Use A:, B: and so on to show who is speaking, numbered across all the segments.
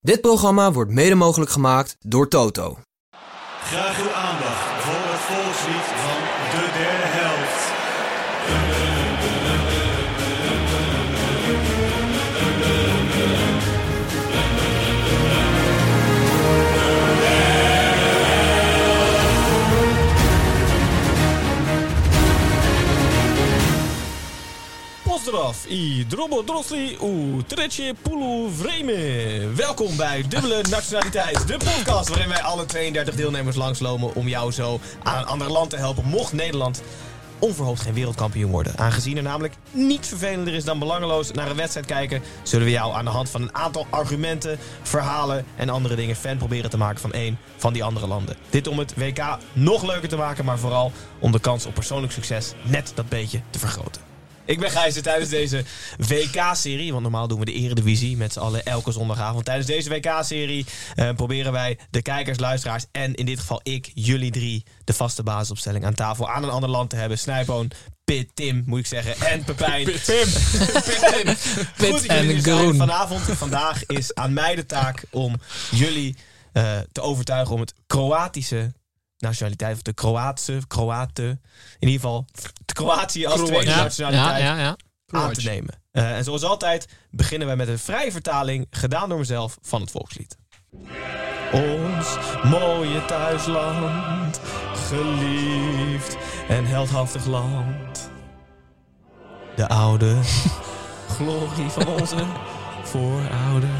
A: Dit programma wordt mede mogelijk gemaakt door Toto.
B: Graag uw aandacht voor het volkslied van de derde helft.
C: Pozdrav i drobo drosli u tretje pulu vreme. Welkom bij Dubbele Nationaliteit, de podcast waarin wij alle 32 deelnemers langslomen om jou zo aan een ander land te helpen, mocht Nederland onverhoopt geen wereldkampioen worden. Aangezien er namelijk niets vervelender is dan belangeloos naar een wedstrijd kijken, zullen we jou aan de hand van een aantal argumenten, verhalen en andere dingen fan proberen te maken van één van die andere landen. Dit om het WK nog leuker te maken, maar vooral om de kans op persoonlijk succes net dat beetje te vergroten. Ik ben Gijs en tijdens deze WK-serie, want normaal doen we de Eredivisie met z'n allen elke zondagavond. Tijdens deze WK-serie eh, proberen wij de kijkers, luisteraars en in dit geval ik, jullie drie, de vaste basisopstelling aan tafel aan een ander land te hebben. Snijpoon, Pit, Tim moet ik zeggen, en Pepijn. Pit, Tim.
A: Pit
C: Goed dat
A: en
C: jullie er zijn.
A: Groen.
C: Vanavond, vandaag is aan mij de taak om jullie eh, te overtuigen om het Kroatische nationaliteit, of de Kroatische, Kroaten, in ieder geval de Kroatië als tweede nationaliteit aan te nemen. Eh, en zoals altijd beginnen wij met een vrije vertaling, gedaan door mezelf, van het volkslied. Ons mooie thuisland, geliefd en heldhaftig land. De oude glorie van onze voorouders.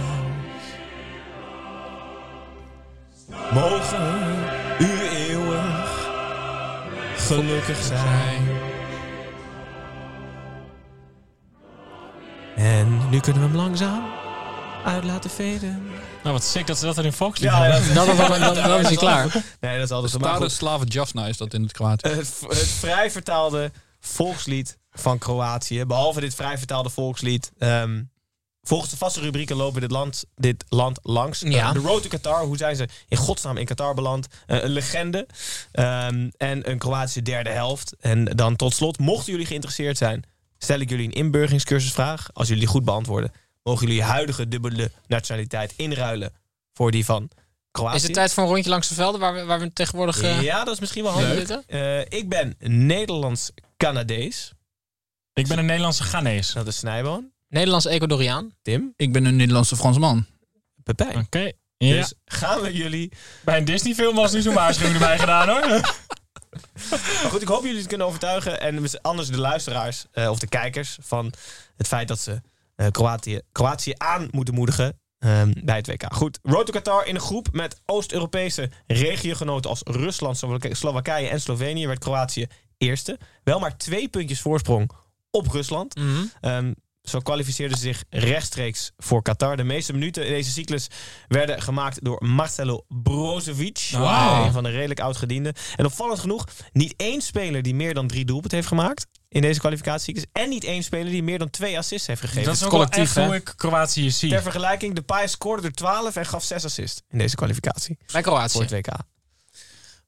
C: Mogen u eeuwig gelukkig zijn. En nu kunnen we hem langzaam uit laten veden.
D: Nou, wat sick dat ze dat er in Volkslied ja,
C: dat,
A: Dan, dan, dan- dan is hij klaar.
C: nee, dat is altijd zo maar
D: Stade
C: goed.
D: Slava Javna is dat in het kwaad.
C: Het, het vrij vertaalde volkslied van Kroatië. Behalve dit vrij vertaalde volkslied. ehm, volgens de vaste rubrieken lopen dit land, dit land langs.
A: Ja.
C: Eh, de Road to Qatar. Hoe zijn ze in godsnaam in Qatar beland? Eh, een legende. Ehm, en een Kroatische derde helft. En dan tot slot, mochten jullie geïnteresseerd zijn, stel ik jullie een inburgingscursusvraag. Als jullie die goed beantwoorden, mogen jullie je huidige dubbele nationaliteit inruilen voor die van Kroatië.
E: Is het tijd voor een rondje langs de velden waar we, waar we tegenwoordig eh,
C: Ja, dat is misschien wel
E: in
C: handig.
E: zitten?
C: Eh, ik ben Nederlands-Canadees. Dus
D: Ik ben een Nederlandse Ghanese.
C: Dat is Snijboon.
E: Nederlands Ecuadoriaan.
C: Tim.
F: Ik ben een Nederlandse Fransman.
C: Pepijn.
D: Oké. Ja.
C: Dus gaan we jullie...
D: bij een Disney film was nu zo'n waarschuwing erbij gedaan hoor.
C: Maar goed, ik hoop jullie te kunnen overtuigen. En anders de luisteraars eh, of de kijkers van het feit dat ze eh, Kroatië, Kroatië aan moeten moedigen ehm, bij het WK. Goed, Road to Qatar in een groep met Oost-Europese regiogenoten als Rusland, Slowak- Slowakije en Slovenië werd Kroatië eerste. Wel maar twee puntjes voorsprong op Rusland. Ehm, zo kwalificeerden ze zich rechtstreeks voor Qatar. De meeste minuten in deze cyclus werden gemaakt door Marcelo Brozovic.
D: Wauw.
C: Een van de redelijk oud-gedienden. En opvallend genoeg, niet één speler die meer dan drie doelpunten heeft gemaakt in deze kwalificatiecyclus. En niet één speler die meer dan twee assists heeft gegeven.
D: Dat is ook wel
E: collectief,
D: echt
E: hè?
D: hoe ik Kroatië zie.
C: Ter vergelijking, Depay scoorde er 12 en gaf 6 assists in deze kwalificatie
E: Bij
C: voor
E: Kroatië.
C: het WK.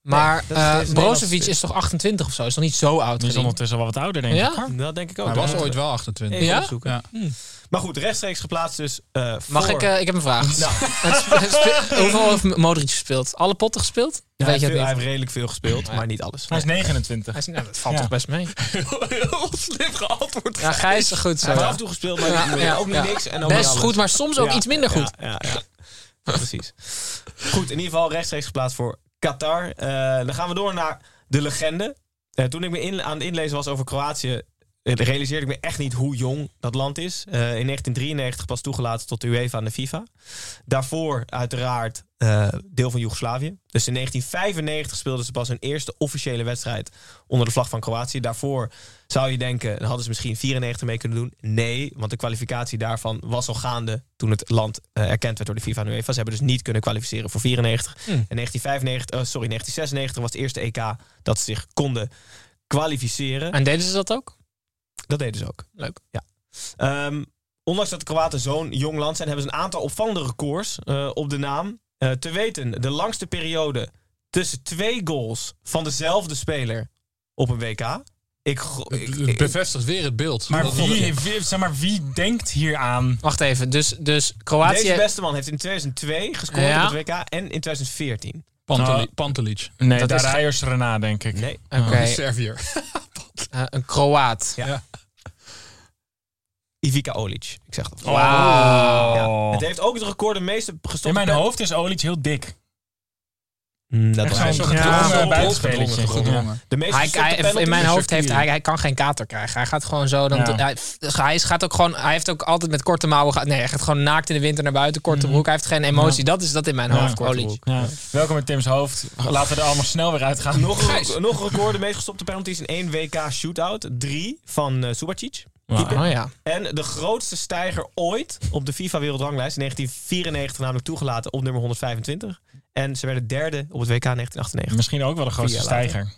E: Maar
C: Nee, dat is
E: eh
C: deze
E: Brozovic
C: Nederlandse-
E: is toch 28 of zo? Is nog niet zo oud?
D: Die is
E: gezien?
D: ondertussen wel wat ouder denk ik.
E: Ja?
D: hoor.
C: Dat denk ik ook.
F: Hij
C: Dat
F: was
C: moeten
F: ooit
C: we
F: wel 28.
C: even
E: Oh. Ja?
C: opzoeken.
F: Ja.
C: Maar goed, rechtstreeks geplaatst dus eh,
E: Mag
C: voor-
E: ik, eh, ik heb een vraag.
C: Nou,
E: Het spe- het spe- Hoeveel heeft Modric gespeeld? Alle potten gespeeld?
C: hij,
E: Weet
C: heeft
E: je
C: veel-
E: het
C: hij
E: niet?
C: heeft redelijk veel gespeeld, maar niet alles.
D: Hij is 29.
E: Hij is, nou, dat valt
D: Ja.
E: toch best mee.
C: heel slim geantwoord.
E: Ja, Gijs, goed zo.
C: Hij heeft
E: ja.
C: af en toe gespeeld, maar
E: Ja,
C: niet meer.
E: ja,
C: ook niet
E: ja.
C: niks. En ook niet
E: Best
C: alles.
E: goed, maar soms ook
C: Ja,
E: iets minder goed.
C: Ja, ja, ja. Precies. Goed, in ieder geval rechtstreeks geplaatst voor Qatar. Eh, dan gaan we door naar de legende. Eh, toen ik me in, aan het inlezen was over Kroatië, eh, realiseerde ik me echt niet hoe jong dat land is. Eh, in 1993 pas toegelaten tot de UEFA en de FIFA. Daarvoor uiteraard eh, deel van Joegoslavië. Dus in 1995 speelden ze pas hun eerste officiële wedstrijd onder de vlag van Kroatië. Daarvoor zou je denken, dan hadden ze misschien 94 mee kunnen doen. Nee, want de kwalificatie daarvan was al gaande toen het land eh, erkend werd door de FIFA en UEFA. Ze hebben dus niet kunnen kwalificeren voor 94. En 1995, eh, sorry, 1996 was het eerste EK dat ze zich konden kwalificeren.
E: En deden ze dat ook?
C: Dat deden ze ook.
E: Leuk.
C: Ja. Ehm, ondanks dat de Kroaten zo'n jong land zijn, hebben ze een aantal opvallende records eh, op de naam. Eh, te weten, de langste periode tussen twee goals van dezelfde speler op een WK. Ik, gro- ik,
F: Het
C: ik-
F: bevestigt weer het beeld.
D: Maar
F: Dat-
D: wie, wie- zeg maar wie denkt hier aan?
E: Wacht even, dus, dus Kroatië...
C: deze beste man heeft in 2002 gescoord
E: Ja.
C: op het WK en in 2014.
F: Panteli-
D: Nou.
F: Pantelic.
D: Nee,
E: Dat
D: daar
E: is ge-
D: rijers erna, denk ik.
C: Nee.
E: Oké,
F: Servier.
E: eh, een Kroaat.
C: Ivica Olic. Ik zeg dat.
E: Wauw.
C: Ja. Het heeft ook het record de meeste
D: In
C: gestopte...
D: mijn hoofd is Olic heel dik.
C: Mm, dat
D: Echt
C: was
D: zo'n
F: zo'n gedrongen,
D: gedrongen buitenspelletje.
F: opgedrongen, gedrongen.
D: Ja.
C: de meeste
E: Hij,
C: gestopte
E: hij-
C: penalty
E: in mijn
C: is
E: hoofd heeft
C: Shaqiri.
E: hij, hij kan geen kater krijgen. Hij gaat gewoon zo. Dan
D: Ja.
E: te- hij, hij gaat ook gewoon. Hij heeft ook altijd met korte mouwen. ge- Nee, hij gaat gewoon naakt in de winter naar buiten. Korte broek. Hij heeft geen emotie. Dat is dat in mijn
D: Ja,
E: hoofd.
D: korte
E: Olic.
D: Ja. Welkom in Tim's hoofd. Laten we er allemaal snel weer uitgaan.
C: Nog, een- nog een record, de meest gestopte penalties in één WK shootout. Drie van eh Subacic. keeper.
E: Oh ja.
C: En de grootste stijger ooit op de FIFA wereldranglijst. In 1994 namelijk toegelaten op nummer 125. En ze werden derde op het WK 1998.
D: Misschien ook wel de grootste
C: Vier jaar later.
D: stijger.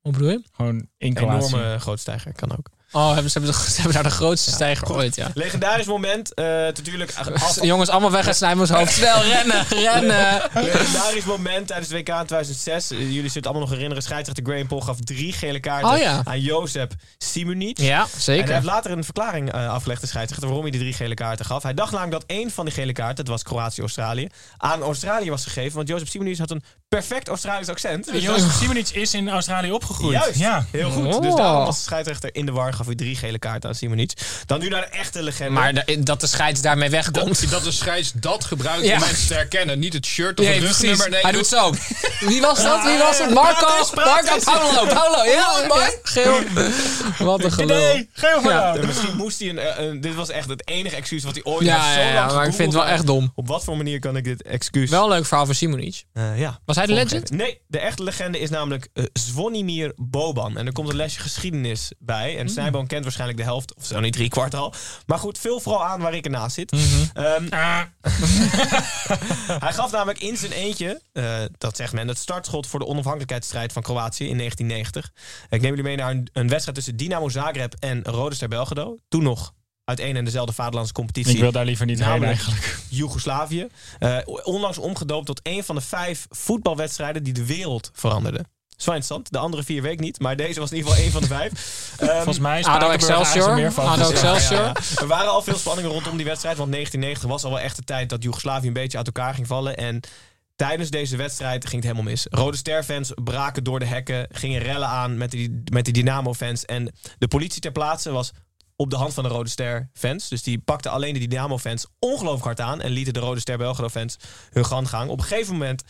E: Hoe bedoel je?
D: Gewoon in
C: Een
D: Kroatië.
C: enorme grote stijger, kan ook.
E: Oh, hebben, ze, hebben, de- ze hebben daar de grootste stijger ooit. Ja.
C: Legendarisch moment, eh, natuurlijk. af-
E: Jongens, allemaal weg en snijden ons hoofd. Snel rennen, rennen.
C: legendarisch moment tijdens het WK in 2006. Eh, jullie zullen het allemaal nog herinneren. Scheidsrechter Graham Paul gaf drie gele kaarten
E: Oh ja.
C: aan Jozef Simunic.
E: Ja,
C: En hij
E: zeker.
C: heeft later een verklaring eh, afgelegd, de scheidsrechter, waarom hij de drie gele kaarten gaf. Hij dacht namelijk dat één van die gele kaarten, dat was Kroatië-Australië, aan Australië was gegeven. Want Jozef Simonius had een perfect Australisch accent. Dus dat-
D: Jozef Simonic is in Australië opgegroeid.
C: Juist,
D: Ja.
C: heel goed.
E: Oh.
C: Dus daarom was de scheidsrechter in de war, gaf hij drie gele kaarten aan Simonic. Dan nu naar de echte legende.
E: Maar da- dat de scheids daarmee
F: Dat,
E: wegkomt.
F: dat de scheids dat gebruikt
E: Ja.
F: om mensen te herkennen. Niet het shirt of
E: Nee,
F: het
E: precies.
F: rugnummer. Nee,
E: Hij
F: joh.
E: doet zo. Wie was dat? Wie was het? Marco?
C: Praat eens, praat
E: Marco
C: eens.
E: Paolo. Paolo. Heel mooi. Geel. Wat een gelul.
D: Nee, geel voor
E: Ja.
D: jou.
C: En Misschien moest hij een, eh, een- Dit was echt het enige excuus wat hij ooit
E: Ja,
C: heeft. Zo lang
E: ja, ja, maar ik
C: gegoogeld.
E: vind het wel echt dom.
C: Op wat voor manier kan ik dit excuus...
E: Wel een leuk verhaal van Simonic.
C: eh, ja,
E: Was hij de
C: vormgeven.
E: legend?
C: Nee, de echte legende is namelijk eh, Zvonimir Boban. En er komt een lesje geschiedenis bij.
E: Mm.
C: En Snijboon kent waarschijnlijk de helft, of zo niet drie kwart al. Maar goed, vul vooral aan waar ik ernaast zit.
E: Mhm.
C: Ehm,
D: Ah.
C: hij gaf namelijk in zijn eentje, eh, dat zegt men, het startschot voor de onafhankelijkheidsstrijd van Kroatië in 1990. Ik neem jullie mee naar een, een wedstrijd tussen Dynamo Zagreb en Rode Ster Belgrado. Toen nog uit één en dezelfde vaderlandse competitie.
D: Ik wil daar liever niet heen
C: Namelijk
D: eigenlijk.
C: Joegoslavië. Eh, onlangs omgedoopt tot een van de vijf voetbalwedstrijden die de wereld veranderden. Zo interessant. De andere vier weet ik niet, maar deze was in ieder geval een van de vijf. Ehm,
D: Volgens mij is
E: ADO
D: Spakenburg AZ er meer
E: Excelsior.
D: van.
E: ADO
D: Ja.
E: Excelsior.
C: ja, ja. Er waren al veel spanningen rondom die wedstrijd, want 1990 was al wel echt de tijd dat Joegoslavië een beetje uit elkaar ging vallen. En tijdens deze wedstrijd ging het helemaal mis. Rode Ster-fans braken door de hekken, gingen rellen aan met die, met die Dynamo-fans. En de politie ter plaatse was op de hand van de Rode Ster-fans. Dus die pakte alleen de Dynamo-fans ongelooflijk hard aan en lieten de Rode Ster Belgrado-fans hun gang gaan. Op een gegeven moment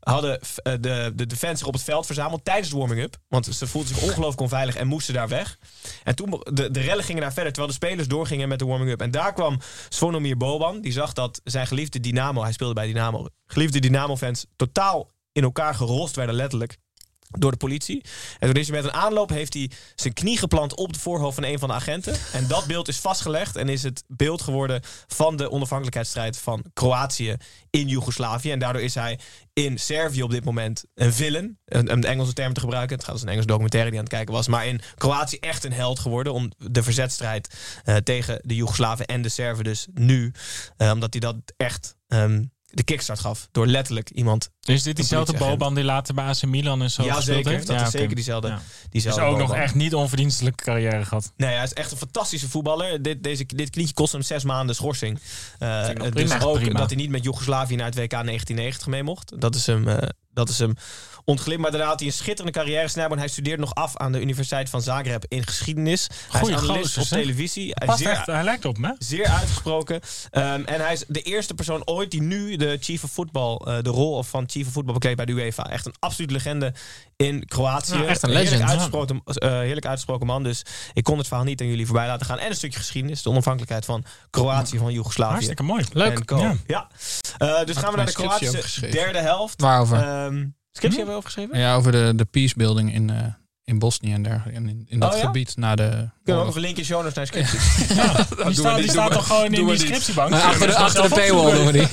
C: hadden f- eh, de, de, de fans zich op het veld verzameld tijdens de warming-up. Want ze voelden zich ongelooflijk onveilig en moesten daar weg. En toen be- de, de rellen gingen daar verder, terwijl de spelers doorgingen met de warming-up. En daar kwam Svonomir Boban, die zag dat zijn geliefde Dynamo, hij speelde bij Dynamo, geliefde Dynamo-fans totaal in elkaar gerost werden letterlijk. Door de politie. En toen is hij met een aanloop heeft hij zijn knie geplant op het voorhoofd van een van de agenten. En dat beeld is vastgelegd en is het beeld geworden van de onafhankelijkheidsstrijd van Kroatië in Joegoslavië. En daardoor is hij in Servië op dit moment een villain. Een- Om de Engelse term te gebruiken. Het gaat als een Engelse documentaire die aan het kijken was. Maar in Kroatië echt een held geworden. Om de verzetstrijd eh, tegen de Joegoslaven en de Serven dus nu. eh, omdat hij dat echt ehm, de kickstart gaf. Door letterlijk iemand.
D: Is dit diezelfde
C: politieagent.
D: Boban die later bij AC Milan en zo
C: Ja,
D: gespeeld
C: zeker.
D: heeft?
C: Dat is
D: oké.
C: zeker diezelfde.
D: Ja.
C: Die
D: Dus
C: zelf
D: ook nog
C: Boban.
D: echt niet onverdienstelijke carrière gehad.
C: Nee, hij is echt een fantastische voetballer. Dit, deze, dit knietje kost hem zes maanden schorsing. Eh,
D: Vind ik nog
C: dus
D: prima.
C: ook
D: Prima.
C: dat hij niet met Joegoslavië naar het WK 1990 mee mocht. Dat is hem eh, dat is hem ontglipt. Maar daarna had hij een schitterende carrière gesneden. En hij studeert nog af aan de Universiteit van Zagreb in geschiedenis.
D: Goeie
C: hij is analist
D: gozer,
C: op
D: zeg.
C: televisie. Hij is
D: Past
C: zeer,
D: echt, hij lijkt op me.
C: zeer uitgesproken. Ehm, en hij is de eerste persoon ooit die nu de chief of football, eh, de rol van chief of football bekleedt bij de UEFA. Echt een absoluut legende in Kroatië.
E: Ja, echt een legend,
C: Heerlijk
E: ja.
C: uitgesproken, eh, heerlijk uitgesproken man. Dus ik kon het verhaal niet aan jullie voorbij laten gaan. En een stukje geschiedenis, de onafhankelijkheid van Kroatië, van Joegoslavië.
D: Hartstikke mooi.
C: En co. Ja.
D: Ja.
C: Eh, dus gaan we naar de
F: mijn scriptie ook
C: Kroatische
F: geschreven.
C: derde helft.
E: Waarover?
C: Ehm
D: Hm?
C: scriptie hebben we overgeschreven?
F: Ja, over de, de peacebuilding in, eh, in Bosnië en dergelijke. En in, in dat
C: Oh, ja?
F: gebied na de...
C: Kunnen we ook
F: oorlog.
C: nog een linkje show notes naar scriptie?
D: Die
F: doen we
D: staat, die
F: niet,
D: staat
F: doen
D: toch
F: we-
D: gewoon in
F: doen we
D: die
F: niet.
D: scriptiebank? dus
E: Eh, achter de,
D: Dat is
E: achter de
D: zelf
E: paywall doen we die.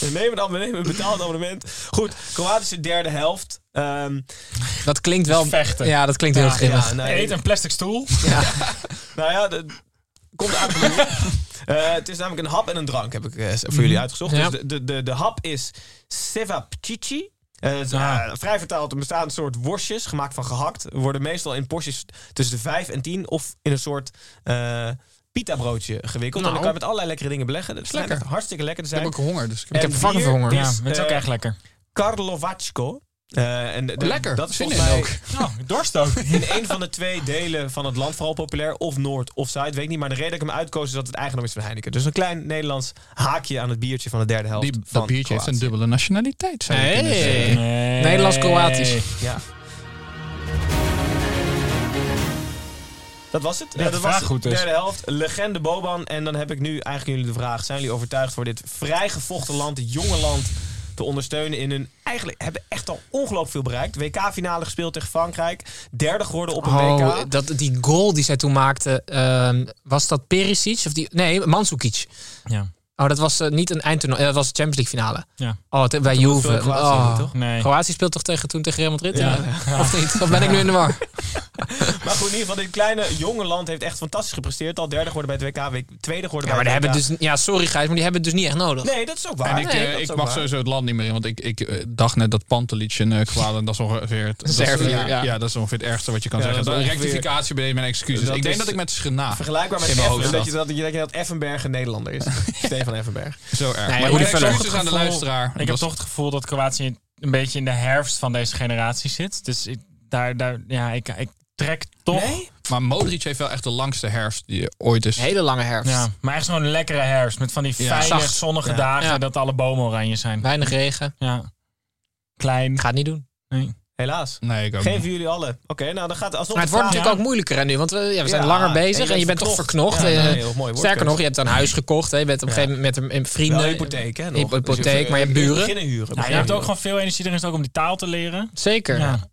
C: We nemen het abonnement, we betalen het abonnement. Goed, Kroatische derde helft. Ehm,
E: Dat klinkt wel...
D: Vechten.
E: Ja, dat klinkt heel grimmig.
C: ja, nee,
D: Eet een plastic stoel.
C: nou ja, dat komt uit de Eh Het is namelijk een hap en een drank, heb ik eh, voor jullie uitgezocht.
E: Ja.
C: Dus de, de, de, de hap is sevapcici. Eh, het is,
D: Ah.
C: eh, vrij vertaald een bestaand soort worstjes, gemaakt van gehakt. Worden meestal in porties tussen de 5 en 10 of in een soort eh pita broodje gewikkeld. en dan
E: Nou.
C: kan je met allerlei lekkere dingen beleggen. Dat is
F: lekker.
C: hartstikke lekker te
F: Ik
C: zijn.
F: heb ook honger, dus ik
C: En
F: heb...
E: heb varken
C: bier
E: voor honger.
D: Ja,
C: is,
D: dat is ook
C: eh,
D: echt lekker.
C: Karlovacko. Eh, en de- de-
F: Lekker,
C: Dat is
F: zin
C: volgens mij
F: in
D: Nou, dorst ook.
C: in een van de twee delen van het land vooral populair. Of Noord of Zuid, weet ik niet. Maar de reden dat ik hem uitkoos is dat het eigendom is van Heineken. Dus een klein Nederlands haakje aan het biertje van de derde helft
F: Die,
C: van
F: dat biertje heeft
C: Kroatië.
F: een dubbele nationaliteit, zou je
E: Hey.
F: kunnen zeggen.
D: Nee.
E: Nederlands-Kroatisch.
C: Ja. Dat was het.
D: Ja,
C: Ja, dat was
D: vraag
C: de
D: goed dus.
C: derde helft. Legende Boban. En dan heb ik nu eigenlijk jullie de vraag. Zijn jullie overtuigd voor dit vrijgevochten land, dit jonge land, te ondersteunen in hun... Eigenlijk hebben echt al ongelooflijk veel bereikt. WK-finale gespeeld tegen Frankrijk. Derde geworden op een
E: Oh,
C: WK.
E: dat, die goal die zij toen maakte, ehm, was dat Perisic? Of die, nee, Mandzukic.
D: Ja.
E: Oh, dat was eh, niet een eindtoernooi. eh, Dat was de Champions League finale.
D: Ja.
E: Oh, te- bij Juve.
C: speelde Kroatië
D: Ah.
E: Oh.
C: niet, toch?
D: Nee.
E: Kroatië speelt toch tegen, toen tegen Real Madrid? Ja. Of niet? Of ben ik nu in de war?
C: Maar goed, in ieder geval, dit kleine jonge land heeft echt fantastisch gepresteerd. Al derde geworden bij het WK, week- tweede geworden
E: Ja, maar die
C: bij het
E: hebben
C: WK.
E: dus, ja, sorry Gijs, maar die hebben het dus niet echt nodig.
C: Nee, dat is ook waar.
F: En ik,
C: Nee,
F: eh,
C: dat is
F: ik
C: ook
F: mag
C: waar.
F: sowieso het land niet meer in, want ik, ik eh, dacht net dat Pantelic een uh, en dat is ongeveer het, dat is-
E: Servië,
F: ja,
E: ja.
F: ja, dat is ongeveer het ergste wat je kan
C: Ja,
F: zeggen.
C: dat is
F: Een
C: ongeveer-
F: rectificatie beneden mijn excuses.
C: Dat
F: ik denk
C: is-
F: dat ik met Schena
C: Vergelijkbaar met
F: In mijn
C: Effen,
F: hoofd
C: dat
F: zat.
C: je dat, je denkt dat Effenberg een Nederlander is. Stefan Effenberg.
F: zo erg.
E: Nee,
F: maar
E: Ruud
F: mijn
E: Vuller.
F: excuses aan de luisteraar.
D: Ik
F: Dat
D: heb
F: was-
D: toch het gevoel dat Kroatië een beetje in de herfst van deze generatie zit. Dus ik, daar, daar, ja, ik, ik trek toch.
C: Nee?
F: Maar Modric heeft wel echt de langste herfst die ooit is.
E: Een hele lange herfst.
D: Ja, maar echt zo'n lekkere herfst. Met van die
F: Ja.
D: fijne,
E: Zacht.
D: zonnige
C: Ja.
D: dagen
E: Ja.
D: dat alle bomen oranje zijn.
E: Weinig regen.
D: Ja. Klein.
E: Gaat niet doen.
C: Helaas.
F: Nee, ik ook
C: Geen
F: niet.
C: van jullie allen. Oké, nou dan gaat alsnog
E: Maar het wordt
C: de vraag-
E: natuurlijk ook moeilijker hè, nu, want we, ja, we zijn
C: Ja,
E: langer
C: en
E: bezig en je bent toch verknocht.
C: Ja,
E: eh,
C: nou, heel mooi
E: Sterker
C: woordkeuze.
E: nog, je hebt een huis gekocht. Hè? Je bent op een
C: Ja.
E: gegeven moment een, een
C: Wel
E: vrienden.
C: een hypotheek, hè? nog.
E: Hypotheek,
C: Dus hoeft,
E: maar je hebt
C: eh,
E: buren.
C: beginnen huren.
D: Ja, je hebt ook gewoon veel energie erin, zit ook om die taal te leren.
E: Zeker.
D: Ja.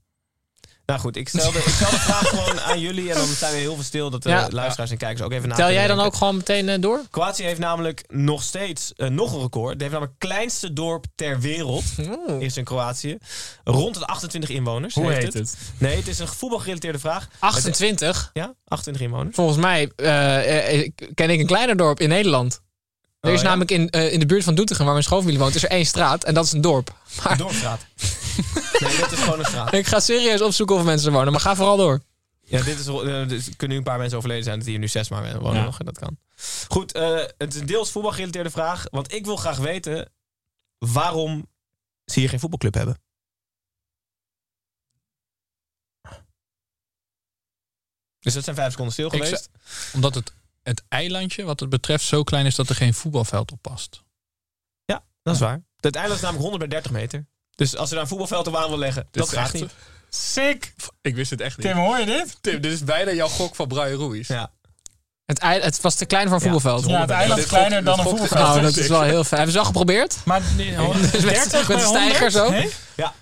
C: Nou goed, ik stel de, ik stel de vraag gewoon aan jullie. En dan zijn we heel veel stil dat de
E: Ja.
C: luisteraars en kijkers ook even na
E: Tel
C: kunnen
E: jij dan
C: denken.
E: ook gewoon meteen eh, door?
C: Kroatië heeft namelijk nog steeds eh, nog een record. Het heeft namelijk het kleinste dorp ter wereld.
E: Oh.
C: Is in Kroatië. Rond de 28 inwoners.
D: Hoe
C: heeft
D: heet het?
C: Nee, het is een voetbalgerelateerde vraag.
E: 28.
C: Ja, 28 inwoners.
E: Volgens mij eh, eh, ken ik een kleiner dorp in Nederland. Er
C: Oh,
E: is
C: ja?
E: namelijk in, eh, in de buurt van Doetinchem, waar mijn schoonfamilie woont, is er één straat en dat is een dorp.
C: Een dorpstraat. nee, dit is gewoon een straat.
E: Ik ga serieus opzoeken of mensen er wonen, maar ga vooral door.
C: Ja, dit is, eh, er kunnen nu een paar mensen overleden zijn. Dat hier nu zes maar wonen
D: Ja.
C: nog. En dat kan. Goed, eh, het is een deels voetbalgerelateerde vraag. Want ik wil graag weten waarom ze hier geen voetbalclub hebben. Dus dat zijn vijf seconden stil
F: Ik
C: geweest.
F: Omdat het, het eilandje wat het betreft zo klein is dat er geen voetbalveld op past.
C: Dat is waar. Het eiland is namelijk 100 bij 30 meter. Dus als ze daar een voetbalveld op aan wil leggen,
F: Dit
C: dat
F: is
C: gaat
F: echt-
C: niet.
D: Sick!
F: Ik wist het echt niet.
D: Tim, hoor je dit?
F: Tim, dit is bijna jouw gok van Brian Ruiz.
C: Ja.
E: Het, ei- het was te klein voor een
C: Ja,
E: voetbalveld.
D: Ja, het eiland is
F: Dit
D: kleiner
F: gokt-
D: dan een
F: dit gokt-
D: voetbalveld.
E: Nou, dat is wel heel fijn. Hebben ze al geprobeerd?
D: Maar nee, oh,
E: met-
D: 30
E: met
D: bij
E: een
D: 100?
E: stijger zo?
D: Nee?
C: Ja.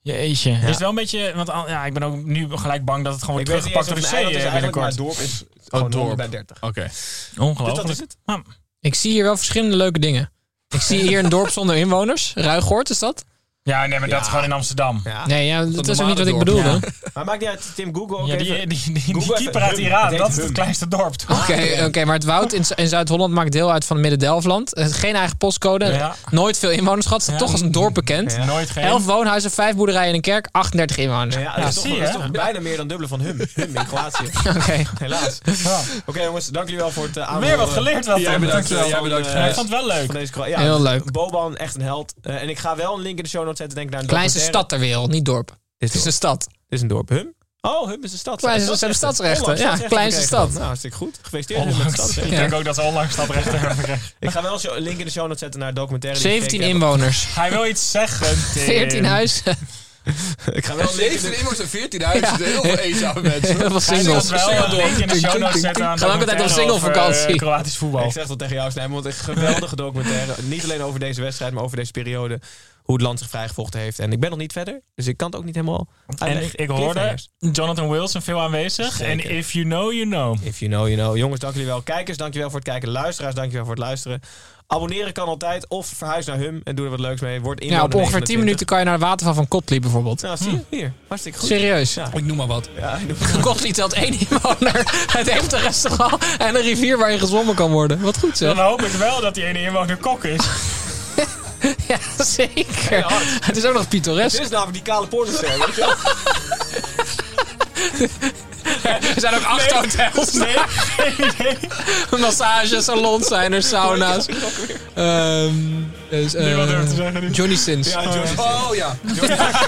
D: Jeetje. Is het wel een beetje... Want al- ja, ik ben ook nu gelijk bang dat het gewoon
C: Ik
D: wordt
C: weet niet eens
D: teruggepakt door
C: of het
D: de zee
C: een eiland is
D: eh,
C: eigenlijk, maar het
D: binnenkort.
C: dorp is gewoon
F: dorp.
C: 100 bij 30.
F: Oké.
C: Dus
D: Ongelooflijk.
C: dat is het.
D: Ja.
E: Ik zie hier wel verschillende leuke dingen. Ik zie hier een dorp zonder inwoners. Ruigoort is dat?
D: Ja, nee, maar dat
C: Ja.
D: is gewoon in Amsterdam. Ja,
C: Ja.
E: Nee, ja, dat is ook niet wat
F: normale
E: ik
F: dorp,
E: bedoelde.
D: ja.
C: Maar maakt niet uit, Tim Google ook
D: die,
C: even.
D: die, die, die
C: dus- Google
D: keeper
C: even
D: uit
C: hum.
D: Iran,
C: Het
D: dat
C: heet
D: is het
C: hum.
D: kleinste dorp. toch?
E: Oké, eh, oké, maar het woud in, in Zuid-Holland maakt deel uit van Midden-Delfland. Eh, Geen eigen postcode.
D: Ja.
E: Nooit veel inwoners gehad. Staat
D: Ja.
E: toch als een dorp bekend.
C: Ja.
D: Nooit geen...
E: 11 woonhuizen, 5 boerderijen en een kerk, 38 inwoners.
C: Nou ja, dat is, toch,
D: zie je,
C: dat is
D: hè?
C: toch bijna meer dan dubbele van hum. Hum in Kroatië.
E: Oké.
C: Helaas.
D: Ja.
C: Oké jongens, dank jullie wel voor het eh, aanhoren.
D: Weer wat geleerd wel.
F: Jij
D: Tom.
C: eh,
F: bedankt,
D: Dankjewel.
F: jij bedankt,
D: Ja,
F: Gijs.
D: Ik vond het wel leuk.
C: Van deze Kro- ja,
E: Heel leuk.
C: Boban, echt een held. Eh, en ik ga wel een link in de show notes want zij te denken naar een
E: Kleinste
C: documentaire.
E: stad ter wereld, niet dorp. Het
C: Dit
E: is een stad.
C: Dit is een dorp. Hum? Oh, Hum is een stad.
E: Kleinste-
C: Stadsrechten.
E: zijn de stadsrechten.
C: Onlangs
E: Ja,
C: stadsrechten
E: kleinste
C: gekregen
E: stad.
C: dan. Nou, hartstikke goed. Gefeliciteerd Hum, met
D: Onlangs.
C: de stadsrechten.
D: Ik denk ook dat ze onlangs staprechter hebben gekregen.
C: Ik ga wel een link in de show notes zetten naar een documentaire. die ik
E: 17
C: gekeken heb.
E: inwoners,
D: Hij wil iets zeggen. Tim.
E: 14 huizen.
C: Ik ga wel een link in de-
G: 17 immers en 14 huizen.
E: Ja.
G: Dat is Heel veel eenzame mensen.
E: Heel veel
D: Hij wil
E: singles.
D: wel een link in de show notes zetten aan
E: Gaan we ook altijd op
D: documentaire over,
E: singlevakantie.
D: eh, Kroatisch voetbal.
C: Ik zeg dat tegen jou, Snijm, want een geweldige documentaire. Niet alleen over deze wedstrijd, maar over deze periode. Hoe het land zich vrijgevochten heeft. En ik ben nog niet verder, dus ik kan het ook niet helemaal
D: En
C: uitleggen.
D: ik hoorde
C: Cliffhangers.
D: Jonathan Wilson veel aanwezig. En
C: Zeker.
D: if you know, you know.
E: Oh.
C: If you know, you know. Jongens, dank jullie wel. Kijkers, dank jullie wel voor het kijken. Luisteraars, dank jullie wel voor het luisteren. Abonneren kan altijd. Of verhuis naar Hum en doe er wat leuks mee. Word
E: Ja,
C: inwoner
E: op ongeveer 10
C: 29.
E: minuten kan je naar de waterval van Kotli bijvoorbeeld.
C: Nou, zie je? Hier. Hartstikke goed.
E: Serieus.
C: Ja.
F: Ik noem maar wat.
C: Ja, ik doe-
E: Kotli telt één inwoner. Het heeft een restaurant en een rivier waar je gezwommen kan worden. Wat goed
D: Dan
E: zeg.
D: hoop ik wel dat die ene inwoner kok is.
E: Ja, zeker. Het is ook nog pittoresk.
C: Dit is namelijk die kale pornoster. weet je wel?
E: Er zijn ook acht hotels.
D: Nee, nee, nee.
E: Massages, salons zijn er, sauna's. Ehm, dus,
D: Nu wat
E: eh,
D: durf te zeggen nu.
E: Johnny Sins.
C: Ja, Johnny.
G: Oh ja.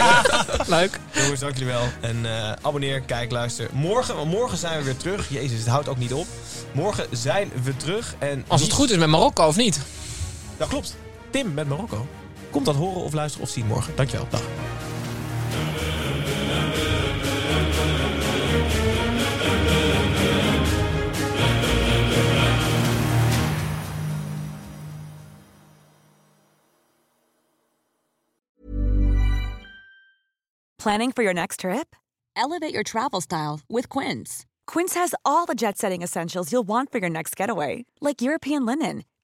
E: Leuk.
C: Jongens, dank jullie wel. En eh, abonneer, kijk, luister. Morgen, want morgen zijn we weer terug. Jezus, het houdt ook niet op. Morgen zijn we terug. En
E: Als het
C: wie-
E: goed is met Marokko of niet?
C: Dat klopt. Tim met Marokko. Komt dat horen of luisteren of zien morgen. Dankjewel. Dag.
H: Planning for your next trip? Elevate your travel style with Quince. Quince has all the jet setting essentials you'll want for your next getaway, like European linen,